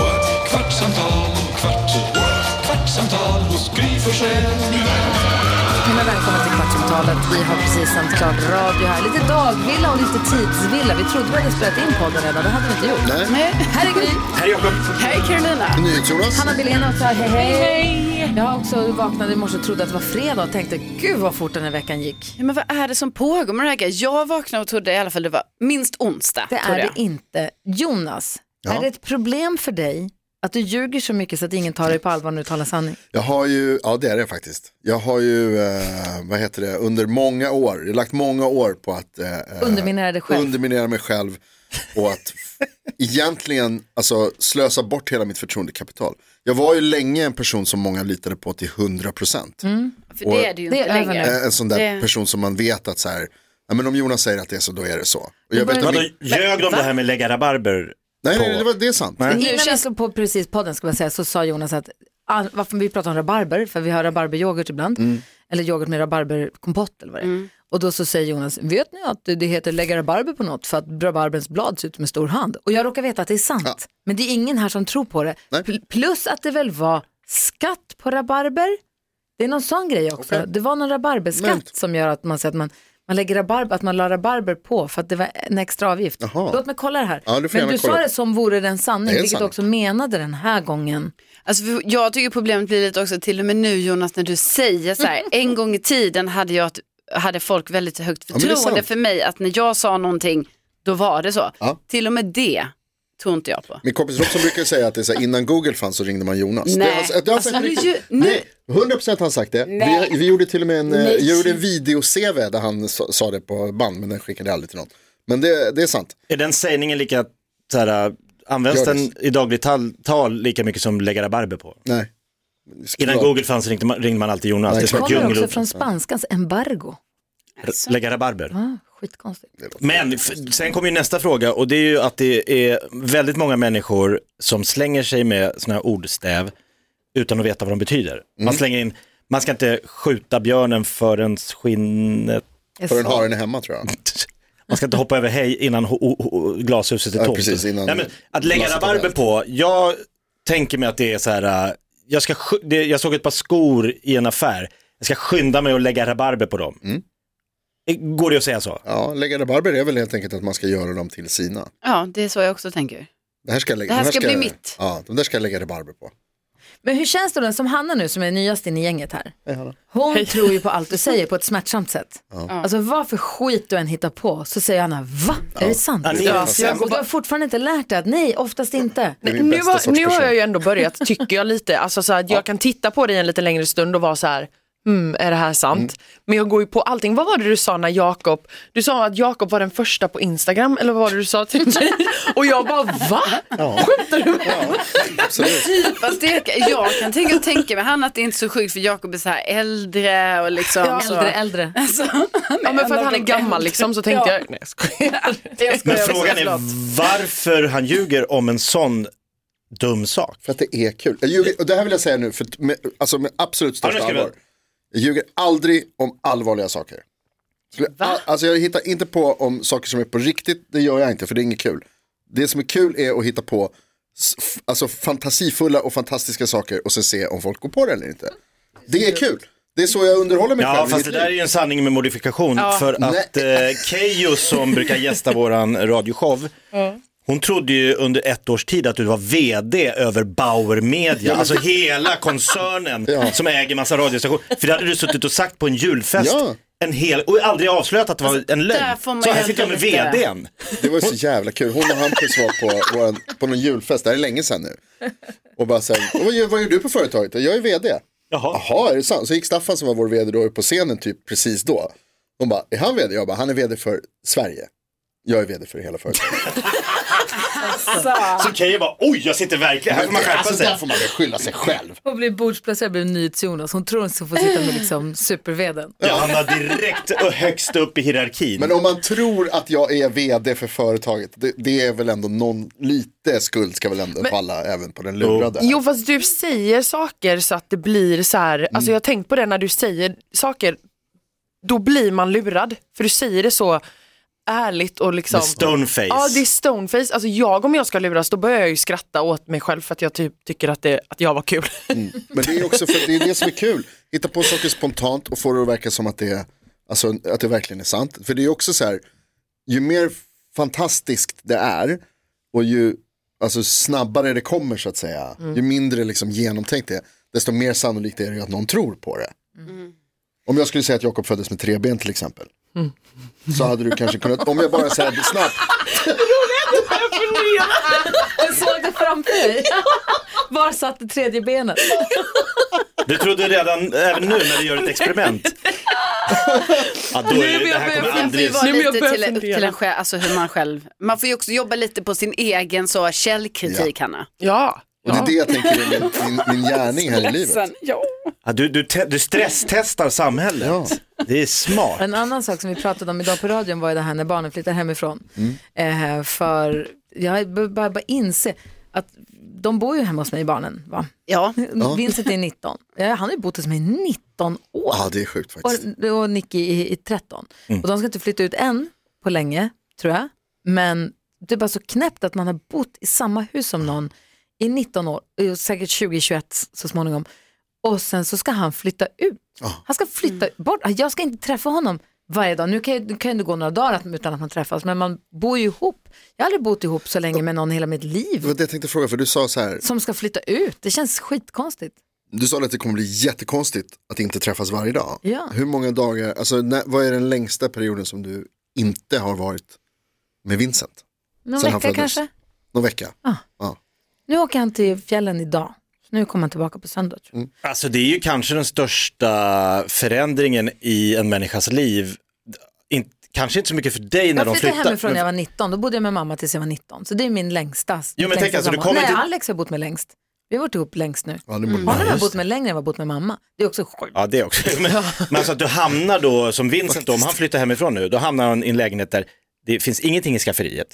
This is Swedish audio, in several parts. what? kvartsamtal, kvart, what? kvartsamtal hos Gry Forssell med vänner. Men välkommen till Kvartsamtalet. Vi har precis sänt klart radio här. Lite dagvilla och lite tidsvilla. Vi trodde vi hade spelat in podden redan, det hade vi inte gjort. Nej. Här är Gry. Här är Jakob. Hej Carolina. NyhetsJonas. Hanna Billén och så här, hej, hej. Jag har också vaknade i morse och trodde att det var fredag och tänkte gud vad fort den här veckan gick. Ja, men vad är det som pågår med det här? grejen? Jag vaknade och trodde i alla fall det var minst onsdag. Det trodde är jag. det inte. Jonas, är det ett problem för dig att du ljuger så mycket så att ingen tar dig på allvar när du talar sanning? Jag har ju, ja det är det faktiskt. Jag har ju, eh, vad heter det, under många år, jag har lagt många år på att eh, eh, Underminera dig själv. underminera mig själv och att f- egentligen alltså, slösa bort hela mitt förtroendekapital. Jag var ju länge en person som många litade på till 100%. Mm. För det är det ju Det inte är över längre. nu. Eh, En sån där Det- person som man vet att så här, ja, men om Jonas säger att det är så, då är det så. Och jag var vet ju- att Vadå, min... Alltså, ljög de det här med lägga rabarber? Nej, på- nej, det, var, det är sant. Nej. Innan vi känns- slog på precis podden ska man säga, så sa Jonas att ah, varför vi pratar om rabarber, för vi har rabarberyoghurt ibland, Mm. eller yoghurt med rabarberkompott eller vad det är. Och då så säger Jonas, vet ni att det heter lägga rabarber på något för att rabarberns blad ser ut som en stor hand? Och jag råkar veta att det är sant, men det är ingen här som tror på det. Nej. Pl- Plus att det väl var skatt på rabarber? Det är någon sån grej också. Okej. Det var någon rabarberskatt Men- som gör att man säger att man, man lägger rabarber, att man la rabarber på för att det var en extra avgift. Jaha. Låt mig kolla det här. Ja, du får men gärna du sa kolla. det som vore den sanning, Det är vilket du sant. också menade den här gången. Alltså, för jag tycker problemet blir lite också till och med nu Jonas när du säger så här, en gång i tiden hade, jag, ett- hade folk väldigt högt men det är förtroende sant. för mig att när jag sa någonting då var det så. Ja. Till och med det tror inte jag på. Min kompis Robson brukar säga att det är så här, innan Google fanns så ringde man Jonas. Nej. Det har, det har Alltså, säkert- nu ju- nu- Nej, 100% har han sagt det. Vi, vi gjorde till och med en, eh, jag gjorde en video-CV där han sa, sa det på band, men den skickade jag aldrig till någon. Men det, det är sant. Är den sägningen lika, så här, används Gör det. den i dagligt tal, tal lika mycket som lägga rabarber på? Nej. Innan Google fanns ringde man, ringde man alltid Jonas. Nej, det är som klart. ett Kommer också djungelord. från spanskans embargo. R- Lägga rabarber. Ah, skitkonstigt. Men f- sen kommer ju nästa fråga och det är ju att det är väldigt många människor som slänger sig med sådana här ordstäv utan att veta vad de betyder. Mm. Man slänger in, man ska inte skjuta björnen förrän skinnet Jag Förrän sa- haren är hemma tror jag. Man ska inte hoppa över hej innan ho- ho- ho- glashuset är Ja, tomt. precis, innan Nej, men att lägga glaset är rabarber vält. på, jag tänker mig att det är så här, äh, jag, ska, sk- det, jag såg ett par skor i en affär, jag ska skynda mig och lägga rabarber på dem. Eh, Går det att säga så? Mm. Ja, lägga rabarber är väl helt enkelt att man ska göra dem till sina. Ja, det är så jag också tänker. Det här ska, jag lägga, Det här de ska bli mitt. Ja, de där ska jag lägga rabarber på. Men hur känns det då, som Hanna nu som är nyast in i gänget här. Hon tror ju på allt du säger på ett smärtsamt sätt. Alltså vad för skit du än hittar på så säger Hanna, va? Är det sant? Ja, ni- Ja, Och du har fortfarande inte lärt dig att nej, oftast inte. Det är min Nu, bästa har- sorts nu har person. jag ju ändå börjat, tycker jag lite, alltså så att jag kan titta på dig en lite längre stund och vara så här, hmm, är det här sant? Mm. Men jag går ju på allting. Vad var det du sa när Jakob, du sa att Jakob var den första på Instagram eller vad var det du sa till mig? och jag bara va? Skämtar du med mig? Absolut. Fast det, jag kan tänka, tänka mig han att det inte är så sjukt för Jakob är så här äldre och liksom så. Äldre, äldre. Alltså, Ja men en för att av han är de gammal äldre. liksom så tänkte Ja. jag, nej jag skojar. Jag Men skojar också, frågan är förlåt. varför han ljuger om en sån dum sak. För att det är kul. Jag ljuger, och det här vill jag säga nu, för, med, alltså med absolut Ja, största nu ska vi- allvar. Jag ljuger aldrig om allvarliga saker. Skulle all- Alltså jag hittar inte på om saker som är på riktigt, det gör jag inte för det är inget kul. Det som är kul är att hitta på s- f- alltså, fantasifulla och fantastiska saker och sen se om folk går på det eller inte. Det är kul, det är så jag underhåller mig Ja, själv. i fast det mitt där är liv. ju en sanning med modifikation för att eh, Keyyo som brukar gästa våran radioshow, hon trodde ju under ett års tid att du var vd över Bauer Media, alltså hela koncernen Ja. som äger massa radiostationer. För det hade du suttit och sagt på en julfest. Ja. En hel, och aldrig avslöjat att det var en Alltså, där lögn. får man Så ju här sitter jag med ändå lite- vdn. Det var ju så jävla kul, hon och Hampus var på, våran, på någon julfest, det här är länge sedan nu. Och bara så här, "Och vad gör, vad gör du på företaget? Jag är vd. Jaha. Jaha, är det sant? Så gick Staffan som var vår vd då upp på scenen typ precis då. Hon bara, är han vd? Jag bara, han är vd för Sverige. Jag är vd för hela företaget. Så kan jag bara, oj jag sitter verkligen, här får man skärpa alltså, där sig. får man väl skylla sig själv. Hon blir bordsplacerad bredvid NyhetsJonas. Hon tror hon ska få sitta med liksom superveden. Jag hamnar direkt och högst upp i hierarkin. Men om man tror att jag är vd för företaget, det, det är väl ändå någon, lite skuld ska väl ändå falla även på den lurade. Jo fast du säger saker så att det blir så här, Mm. alltså jag har tänkt på det när du säger saker, då blir man lurad. För du säger det så ärligt och liksom. The stoneface. Ja det är stoneface, alltså jag om jag ska luras då börjar jag ju skratta åt mig själv för att jag typ tycker att, det, att jag var kul. Men det är också för, det, är det som är kul, hitta på saker spontant och få det att verka som att det, är- alltså, att det verkligen är sant. För det är också så här, ju mer fantastiskt det är och ju alltså, snabbare det kommer så att säga, ju mindre liksom, genomtänkt det är, desto mer sannolikt är det ju att någon tror på det. Om jag skulle säga att Jakob föddes med tre ben till exempel, så hade du kanske kunnat, om jag bara säger det snabbt, Du såg det framför dig. Var satt det tredje benet? Du trodde redan, även nu när du gör ett experiment. Ja, då är, det här kommer aldrig... Det men jag var lite börjar till, upp fundera. till en själv, alltså hur man själv, man får ju också jobba lite på sin egen så källkritik Hanna. Ja. och det är det jag tänker är min, min, min gärning här i livet. Ja, du, du, te- du stresstestar samhället. Det är smart. En annan sak som vi pratade om idag på radion var ju det här när barnen flyttar hemifrån. Eh, för jag bör- börjar bara inse att de bor ju hemma hos mig, barnen. Va? Ja, Vincent är 19. Ja, Han har ju bott hos mig i 19 år. Ja, Ah, det är sjukt faktiskt. Mm. och, och Nicky i, i 13. Och de ska inte flytta ut än på länge, tror jag. Men det är bara så knäppt att man har bott i samma hus som någon i 19 år, eh, säkert 20-21 så småningom. Och sen så ska han flytta ut. Ah. Han ska flytta bort. Jag ska inte träffa honom varje dag. Nu kan, jag, nu kan det gå några dagar att- utan att man träffas, men man bor ju ihop. Jag har aldrig bott ihop så länge med någon i hela mitt Det liv var det jag tänkte fråga, för du sa så här, som ska flytta ut. Det känns skitkonstigt. Du sa att det kommer bli jättekonstigt att inte träffas varje dag. Ja. Hur många dagar, alltså när, vad är den längsta perioden som du inte har varit med Vincent? Någon Sen han vecka föddes. kanske? Någon vecka? Ah. Ja. Nu åker han till fjällen idag. Så nu kommer han tillbaka på söndag. Tror jag. Alltså det är ju kanske den största förändringen i en människas liv. In, kanske inte så mycket för dig när Jag de flyttade flyttar. hemifrån när jag men, var 19. Då bodde jag med mamma tills jag var 19. Så det är min längsta. Jo, men längsta tänk alltså, du sambo- kommer Nej, till- Alex har bott med längst. Vi har varit ihop längst nu. Ja, det må- Honom har jag bott med längre än vad jag bott med mamma. Det är också sjukt. Ja det också. Men, men alltså att du hamnar då, som Vincent då, om han flyttar hemifrån nu, då hamnar han i en lägenhet där det finns ingenting i skafferiet,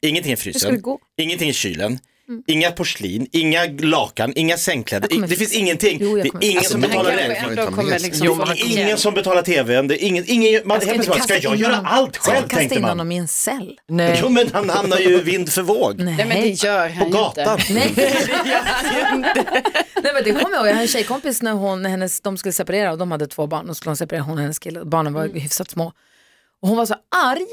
ingenting i Hur ska det frysen, gå? Mm. ingenting i kylen, inga porslin, inga lakan, inga sängkläder, kommer I- det fixa finns ingenting. Jo, jag det är kommer ingen fixa som men han betalar kanske räkningen. ändå kommer liksom Jo, få men han lite Ingen hjälp. som betalar tvn, det är ingen, ingen, man, Jag helt plötsligt bara, ska kasta jag in göra honom- allt Ska själv jag kasta tänkte in man. honom eh, i en cell? Nej. Jo men han hamnar ju vind för våg. Nej men det gör På han ju gatan. inte. Nej. Nej men det kommer jag ihåg, jag hade en tjejkompis när hon, när hennes, de skulle separera och de hade två barn. Och skulle de separera, hon och hennes kille, barnen var hyfsat små. Och hon var så arg,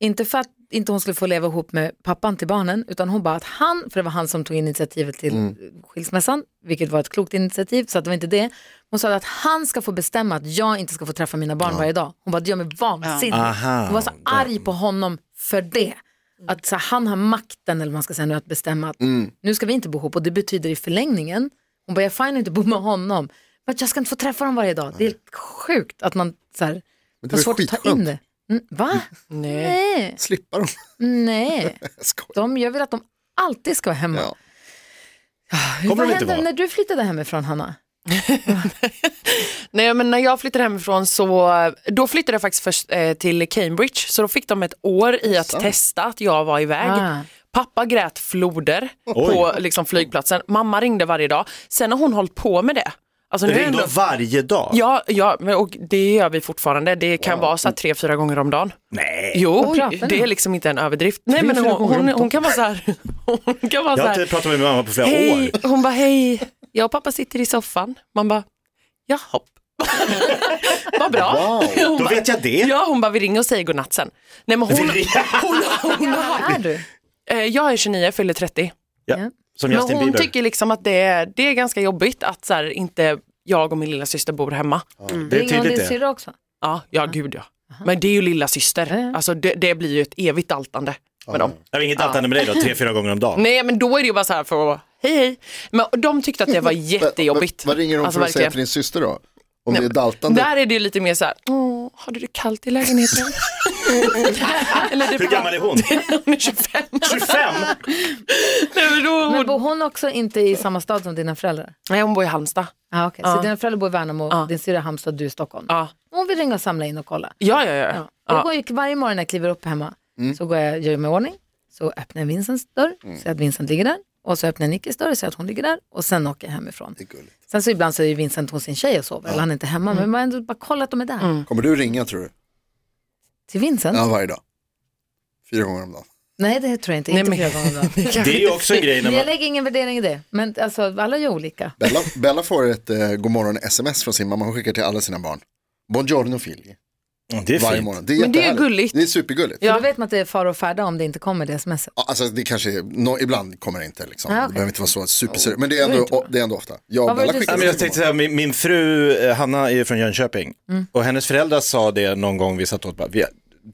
inte för att inte hon skulle få leva ihop med pappan till barnen, utan hon bara att han, för det var han som tog initiativet till Mm. skilsmässan, vilket var ett klokt initiativ, så att det var inte det. Hon sa att han ska få bestämma att jag inte ska få träffa mina barn varje dag. Hon bara, det gör mig vansinnig. Aha, hon var så det- arg på honom för det. Att så, här, han har makten, eller vad man ska säga nu, att bestämma att Mm. nu ska vi inte bo ihop och det betyder i förlängningen, hon bara, jag får inte bo med honom, men jag ska inte få träffa dem varje dag. Det är helt sjukt att man så här, det har var svårt att ta skitskönt. in det. Mm, va? Nej. Nej. Slippa dem. Mm. Nej. Jag skojar. De, jag vill att de alltid ska vara hemma. Ah, Ja. Hur- Kommer Vad de inte hände vara? när du flyttade hemifrån, Hanna? Nej men när jag flyttade hemifrån så, då flyttade jag faktiskt först eh, till Cambridge så då fick de ett år i att testa att jag var iväg. Ah. Pappa grät floder på liksom, flygplatsen, mamma ringde varje dag. Sen har hon hållit på med det. Alltså, nu är det Ringde ändå- de varje dag? Ja, ja men- och det gör vi fortfarande. Det kan vara så här tre, fyra gånger om dagen. Nej. Jo, Vad pratar ni det är om? liksom inte en överdrift. Nej, men fyra hon, gånger om hon, dagen. hon kan vara så här. Hon kan vara Jag så har här. inte pratat med min mamma på flera Hej, år. hon bara hej, jag och pappa sitter i soffan. Man bara, jaha. Vad bra. Wow. Hon Då bara, vet jag det. ja, hon bara, vi ringer och säger godnatt sen. Nej, men hon, hon, hon, Är du? eh, jag är 29, jag fyller 30. Ja. Ja. Som Men Justin hon Bieber. tycker liksom att det är, det är ganska jobbigt att så här, inte jag och min lilla syster bor hemma. det är Ringer hon tydligt din det. syrra också? Ja, ja gud ja. Men det är ju lilla syster. Mm. Ja. Alltså det, det blir ju ett evigt altande med dem. Jag har inget altande med dig då, tre, fyra gånger om dagen. Nej men då är det ju bara så här för att, hej hej. Men de tyckte att det var jättejobbigt. Men- men Vad ringer hon Alltså, för att säga verkligen. till din syster då? Om det är daltande. Där är det ju lite mer så här, åh, har du det kallt i lägenheten? Eller det Hur gammal är hon? Hon är 25. 25? Nej, men då, Men bor hon också inte i samma stad som dina föräldrar? Nej, hon bor i Halmstad. Ah, okay. Så dina föräldrar bor i Värnamo, Ja. din syrra i Halmstad, du i Stockholm. Ja, Hon vill ringa och samla in och kolla. ja, ja. ja. Jag ja. går ju, varje morgon när jag kliver upp hemma Mm. så går jag, gör jag mig i ordning, så öppnar jag Vincents dörr, ser att Vincent ligger där. Och så öppnar jag Nickis dörr och ser att hon ligger där och sen åker jag hemifrån. Sen så ibland så är ju Vincent hos sin tjej och sover, eller han är inte hemma, men man har ändå bara kollat att de är där. Kommer du ringa tror du? Till Vincent? Mm. Ja, varje dag. Fyra gånger om dagen. Nej, det tror jag inte. Nej, inte men- fyra gånger om dagen. Det är ju också en grej när Jag man... lägger ingen värdering i det, men alltså, alla gör olika. Bella, Bella får ett eh, godmorgon-sms från sin mamma. Hon skickar till alla sina barn. Buongiorno figli. Mm, Det är Varje fint. morgon. Det är Men det är jättehärligt. gulligt. Det är supergulligt. För då vet man att det är fara och färda om det inte kommer det smset. Ja, Alltså det kanske, är- nå- ibland kommer det inte liksom. Ja, Ah, okej. Det behöver inte vara så superseriöst. Men det är, Det är ändå, inte bra. det är ändå ofta. Jag Vad och var det Bella du skickar sa? Nej, men jag tänkte så här, min, min fru eh, Hanna är ju från Jönköping och hennes föräldrar sa det någon gång vi satt åt, bara, vi,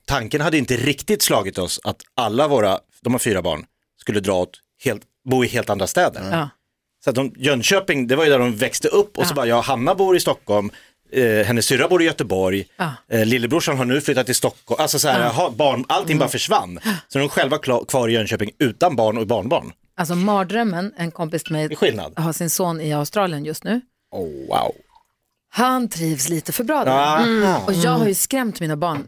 tanken hade inte riktigt slagit oss att alla våra, de har fyra barn, skulle dra åt, helt, bo i helt andra städer. Ja. Så att de, Jönköping, det var ju där de växte upp och så bara, ja Hanna bor i Stockholm, eh, hennes syrra bor i Göteborg, Ja. eh, lillebrorsan har nu flyttat till Stockholm, alltså så här, jaha, barn, allting Mm. bara försvann. Så de själva kla- kvar i Jönköping utan barn och barnbarn. Alltså mardrömmen, en kompis till Det är mig skillnad. har sin son i Australien just nu. Oh, wow. Han trivs lite för bra där. Ah. Mm. Och jag har ju skrämt mina barn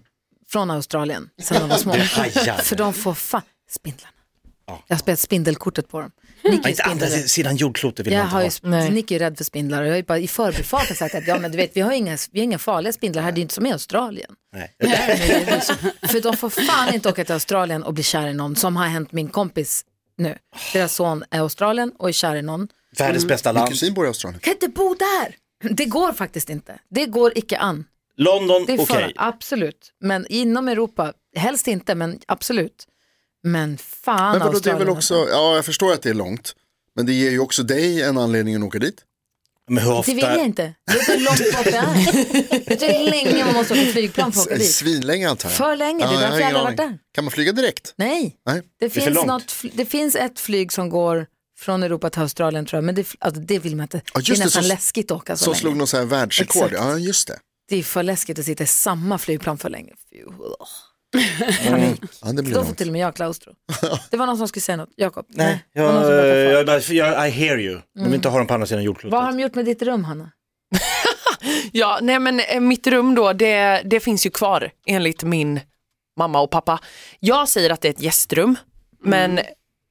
från Australien sedan de var små. hajar. För de får fan, spindlarna. Jag har spelat spindelkortet på dem. Ja, Nicky Inte andra spindlar. sidan jordklotet vill Jag man inte har ju, ha. sp- Nicky är rädd för spindlar och jag har ju bara i förbifarten sagt att ja men du vet vi har inga, vi har inga farliga spindlar här, det är inte som i Australien. Nej. För de får fan inte åka till Australien och bli kär i någon som har hänt min kompis nu. Deras son är i Australien och är kär i någon. Världens bästa Min land. kusin bor i Australien. Kan inte bo där! Det går faktiskt inte. Det går icke an. London, Det är okej. för, absolut. Men inom Europa, helst inte, men absolut. Men fan Men vadå, det är Australien. väl också, alltså. ja jag förstår att det är långt. Men det ger ju också dig en anledning att åka dit. Men hur Det ofta? vill jag inte. Vet du hur långt bort det är? Vet du hur länge man måste åka flygplan för att åka S- dit? Svinlänge antar jag. För länge, det är jag därför har jag ingen aldrig varit aning. där. Kan man flyga direkt? Nej. Nej. Det för finns, långt. något, fl- det finns ett flyg som går från Europa till Australien tror jag, men det, fl- alltså, det vill man inte. Ja, det är just det, nästan så- läskigt att åka så, Så länge. slog någon så här världsrekord. Exakt. Ja, just det. Det är för läskigt att sitta i samma flygplan för länge. Fy, åh. Ja, det blir Då får långt. till och med jag klaustro. Det var någon som skulle säga något, Jakob. Nej, Det var någon som berättade för. jag, jag, jag, I hear you. Jag vill inte ha dem på andra sidan jordklotet. Vad har de gjort med ditt rum Hanna? Ja, nej men eh, mitt rum då, det, det finns ju kvar enligt min mamma och pappa. Jag säger att det är ett gästrum, Mm. men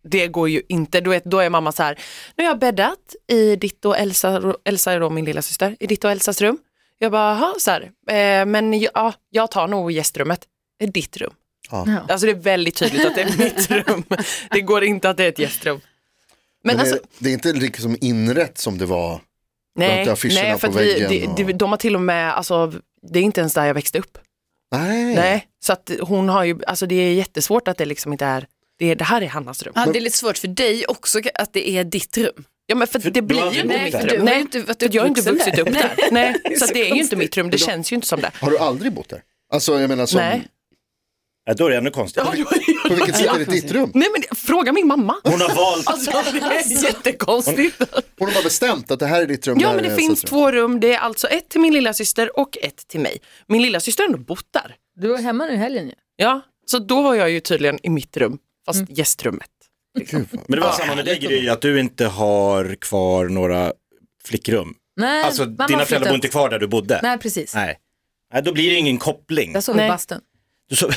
det går ju inte. Du vet, då är mamma så här, nu har jag bäddat i ditt och Elsa, Elsa är då min lilla syster, i ditt och Elsas rum. Jag bara, jaha, så här, eh, men ja, jag tar nog gästrummet, Det är ditt rum. Ja. Alltså det är väldigt tydligt att det är mitt rum. Det går inte att det är ett gästrum. Men, Men alltså, det, det är inte riktigt som inrätt som det var. har inte affischerna nej, för på att vi, väggen det- det- och- de har till och med, alltså, det är inte ens där jag växte upp. Nej. Nej, så att hon har ju, alltså det är jättesvårt att det liksom inte är, det, är, det här är Hannas rum. Ja, det är lite svårt för dig också att det är ditt rum. Ja men för, För det du blir har ju aldrig inte bott mitt där. rum. Nej, Nej, för du har ju inte varit för jag har inte uppvuxen vuxit där. upp där. Nej, så att det är ju inte mitt rum, det känns ju inte som det. Har du aldrig bott där? Alltså jag menar, som, Nej. Ja, då är det ännu konstigare. på vilket sätt är det ditt rum? Nej men det- fråga min mamma. Hon har valt. Alltså det är jättekonstigt. Hon har bara bestämt att det här är ditt rum. Ja där men är det Elsas finns rum. två rum, det är alltså ett till min lilla syster och ett till mig. Min lilla syster har ändå bott där. Du var hemma nu i helgen ju. Ja, så då var jag ju tydligen i mitt rum, fast gästrummet. Men det Ah. Alltså, var samma med dig Gry, att du inte har kvar några flickrum. Nej, Alltså mamma dina har flyttat. föräldrar bor inte kvar där du bodde. Nej, Alltså- precis. Nej. Nej, då blir det ingen koppling. Jag sov i Nej. bastun. Du så...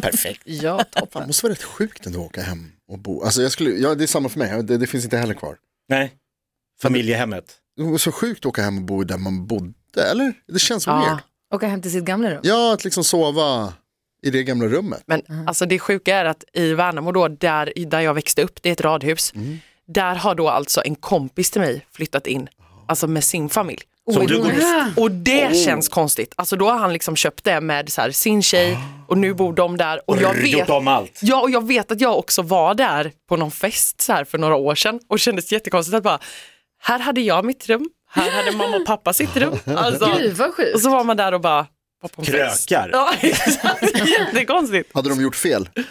Perfekt. Ja, Det toppen. måste vara rätt sjukt ändå att åka hem och bo. Alltså jag skulle, ja, det är samma för mig, det, det finns inte heller kvar. Nej. Familjehemmet. Det var så sjukt att åka hem och bo där man bodde, eller? Det känns så Ja. weird. Åka hem till sitt gamla rum. Ja, att liksom sova i det gamla rummet. Men alltså det sjuka är att i Värnamo då, där, där jag växte upp, det är ett radhus. Mm. Där har då alltså en kompis till mig flyttat in, alltså med sin familj. Som du går Och det känns konstigt. Alltså då har han liksom köpt det med så här, sin tjej och nu bor de där. Och jag gjort vet, om allt. ja, och jag vet att jag också var där på någon fest så här, för några år sedan och kändes jättekonstigt att bara, här hade jag mitt rum, här hade mamma och pappa sitt rum. Alltså, Gud vad och sjukt. så var man där och bara, var på en fest. Krökar. Ja, exakt. jättekonstigt. Hade de gjort fel? Ja,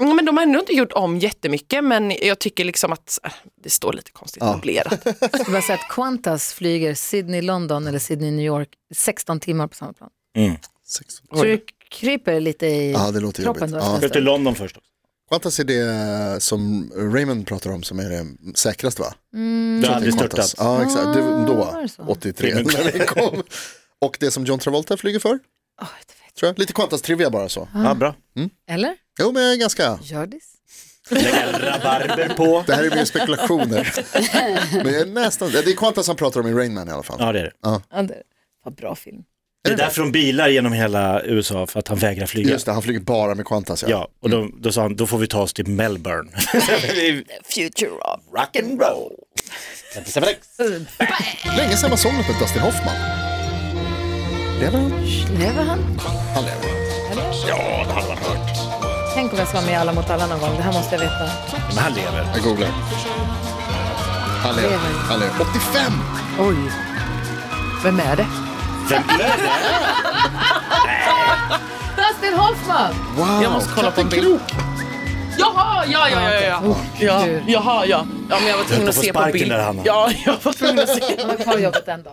Mm, Men de har ändå inte gjort om jättemycket men jag tycker liksom att äh, det står lite konstigt möblerat. Jag bara säga att Qantas flyger Sydney-London eller Sydney-New York 16 timmar på samma plan. Sex. Så du kryper lite i Ja, det låter kroppen jobbigt. då? Ja. Ska till efter. London först också. Qantas är det som Raymond pratar om som är det säkraste va? Du har aldrig Qantas. störtat. Ja exakt, det, Ah, var då, det så? 83 när det kom. Och det som John Travolta flyger för, Åh, jag vet. tror jag. Lite Qantas-trivia bara så. Ja, bra. Eller? Jo men jag är ganska, Gördis? Lägga rabarber på. det här är mer spekulationer. men jag är nästan, det är Qantas han pratar om i Rain Man i alla fall. Ja, det är det. Ja, det var bra film. Det är därför de bilar genom hela USA, för att han vägrar flyga. Just det, han flyger bara med Qantas ja. Ja, och då, då sa han, då får vi ta oss till Melbourne. Future of. Rock'n'roll. Länge sedan man såg något med Dustin Hoffman. Lever han? Lever han? Han lever. Tänk om jag ska vara med i Alla mot alla någon gång. Det här måste jag veta. Men han lever. Jag googlar. Han lever. Han lever. 85! Oj. Vem är det? Vem lever? Dustin Hoffman! Wow! Jag måste kolla på en bild. Jaha, ja, ja, ja, ja. Ah, ja gud. jaha, ja. ja. men jag var tvungen på att se på sparken bild. där, Hanna. Ja, jag var tvungen att se. Han var kvar i jobbet en dag.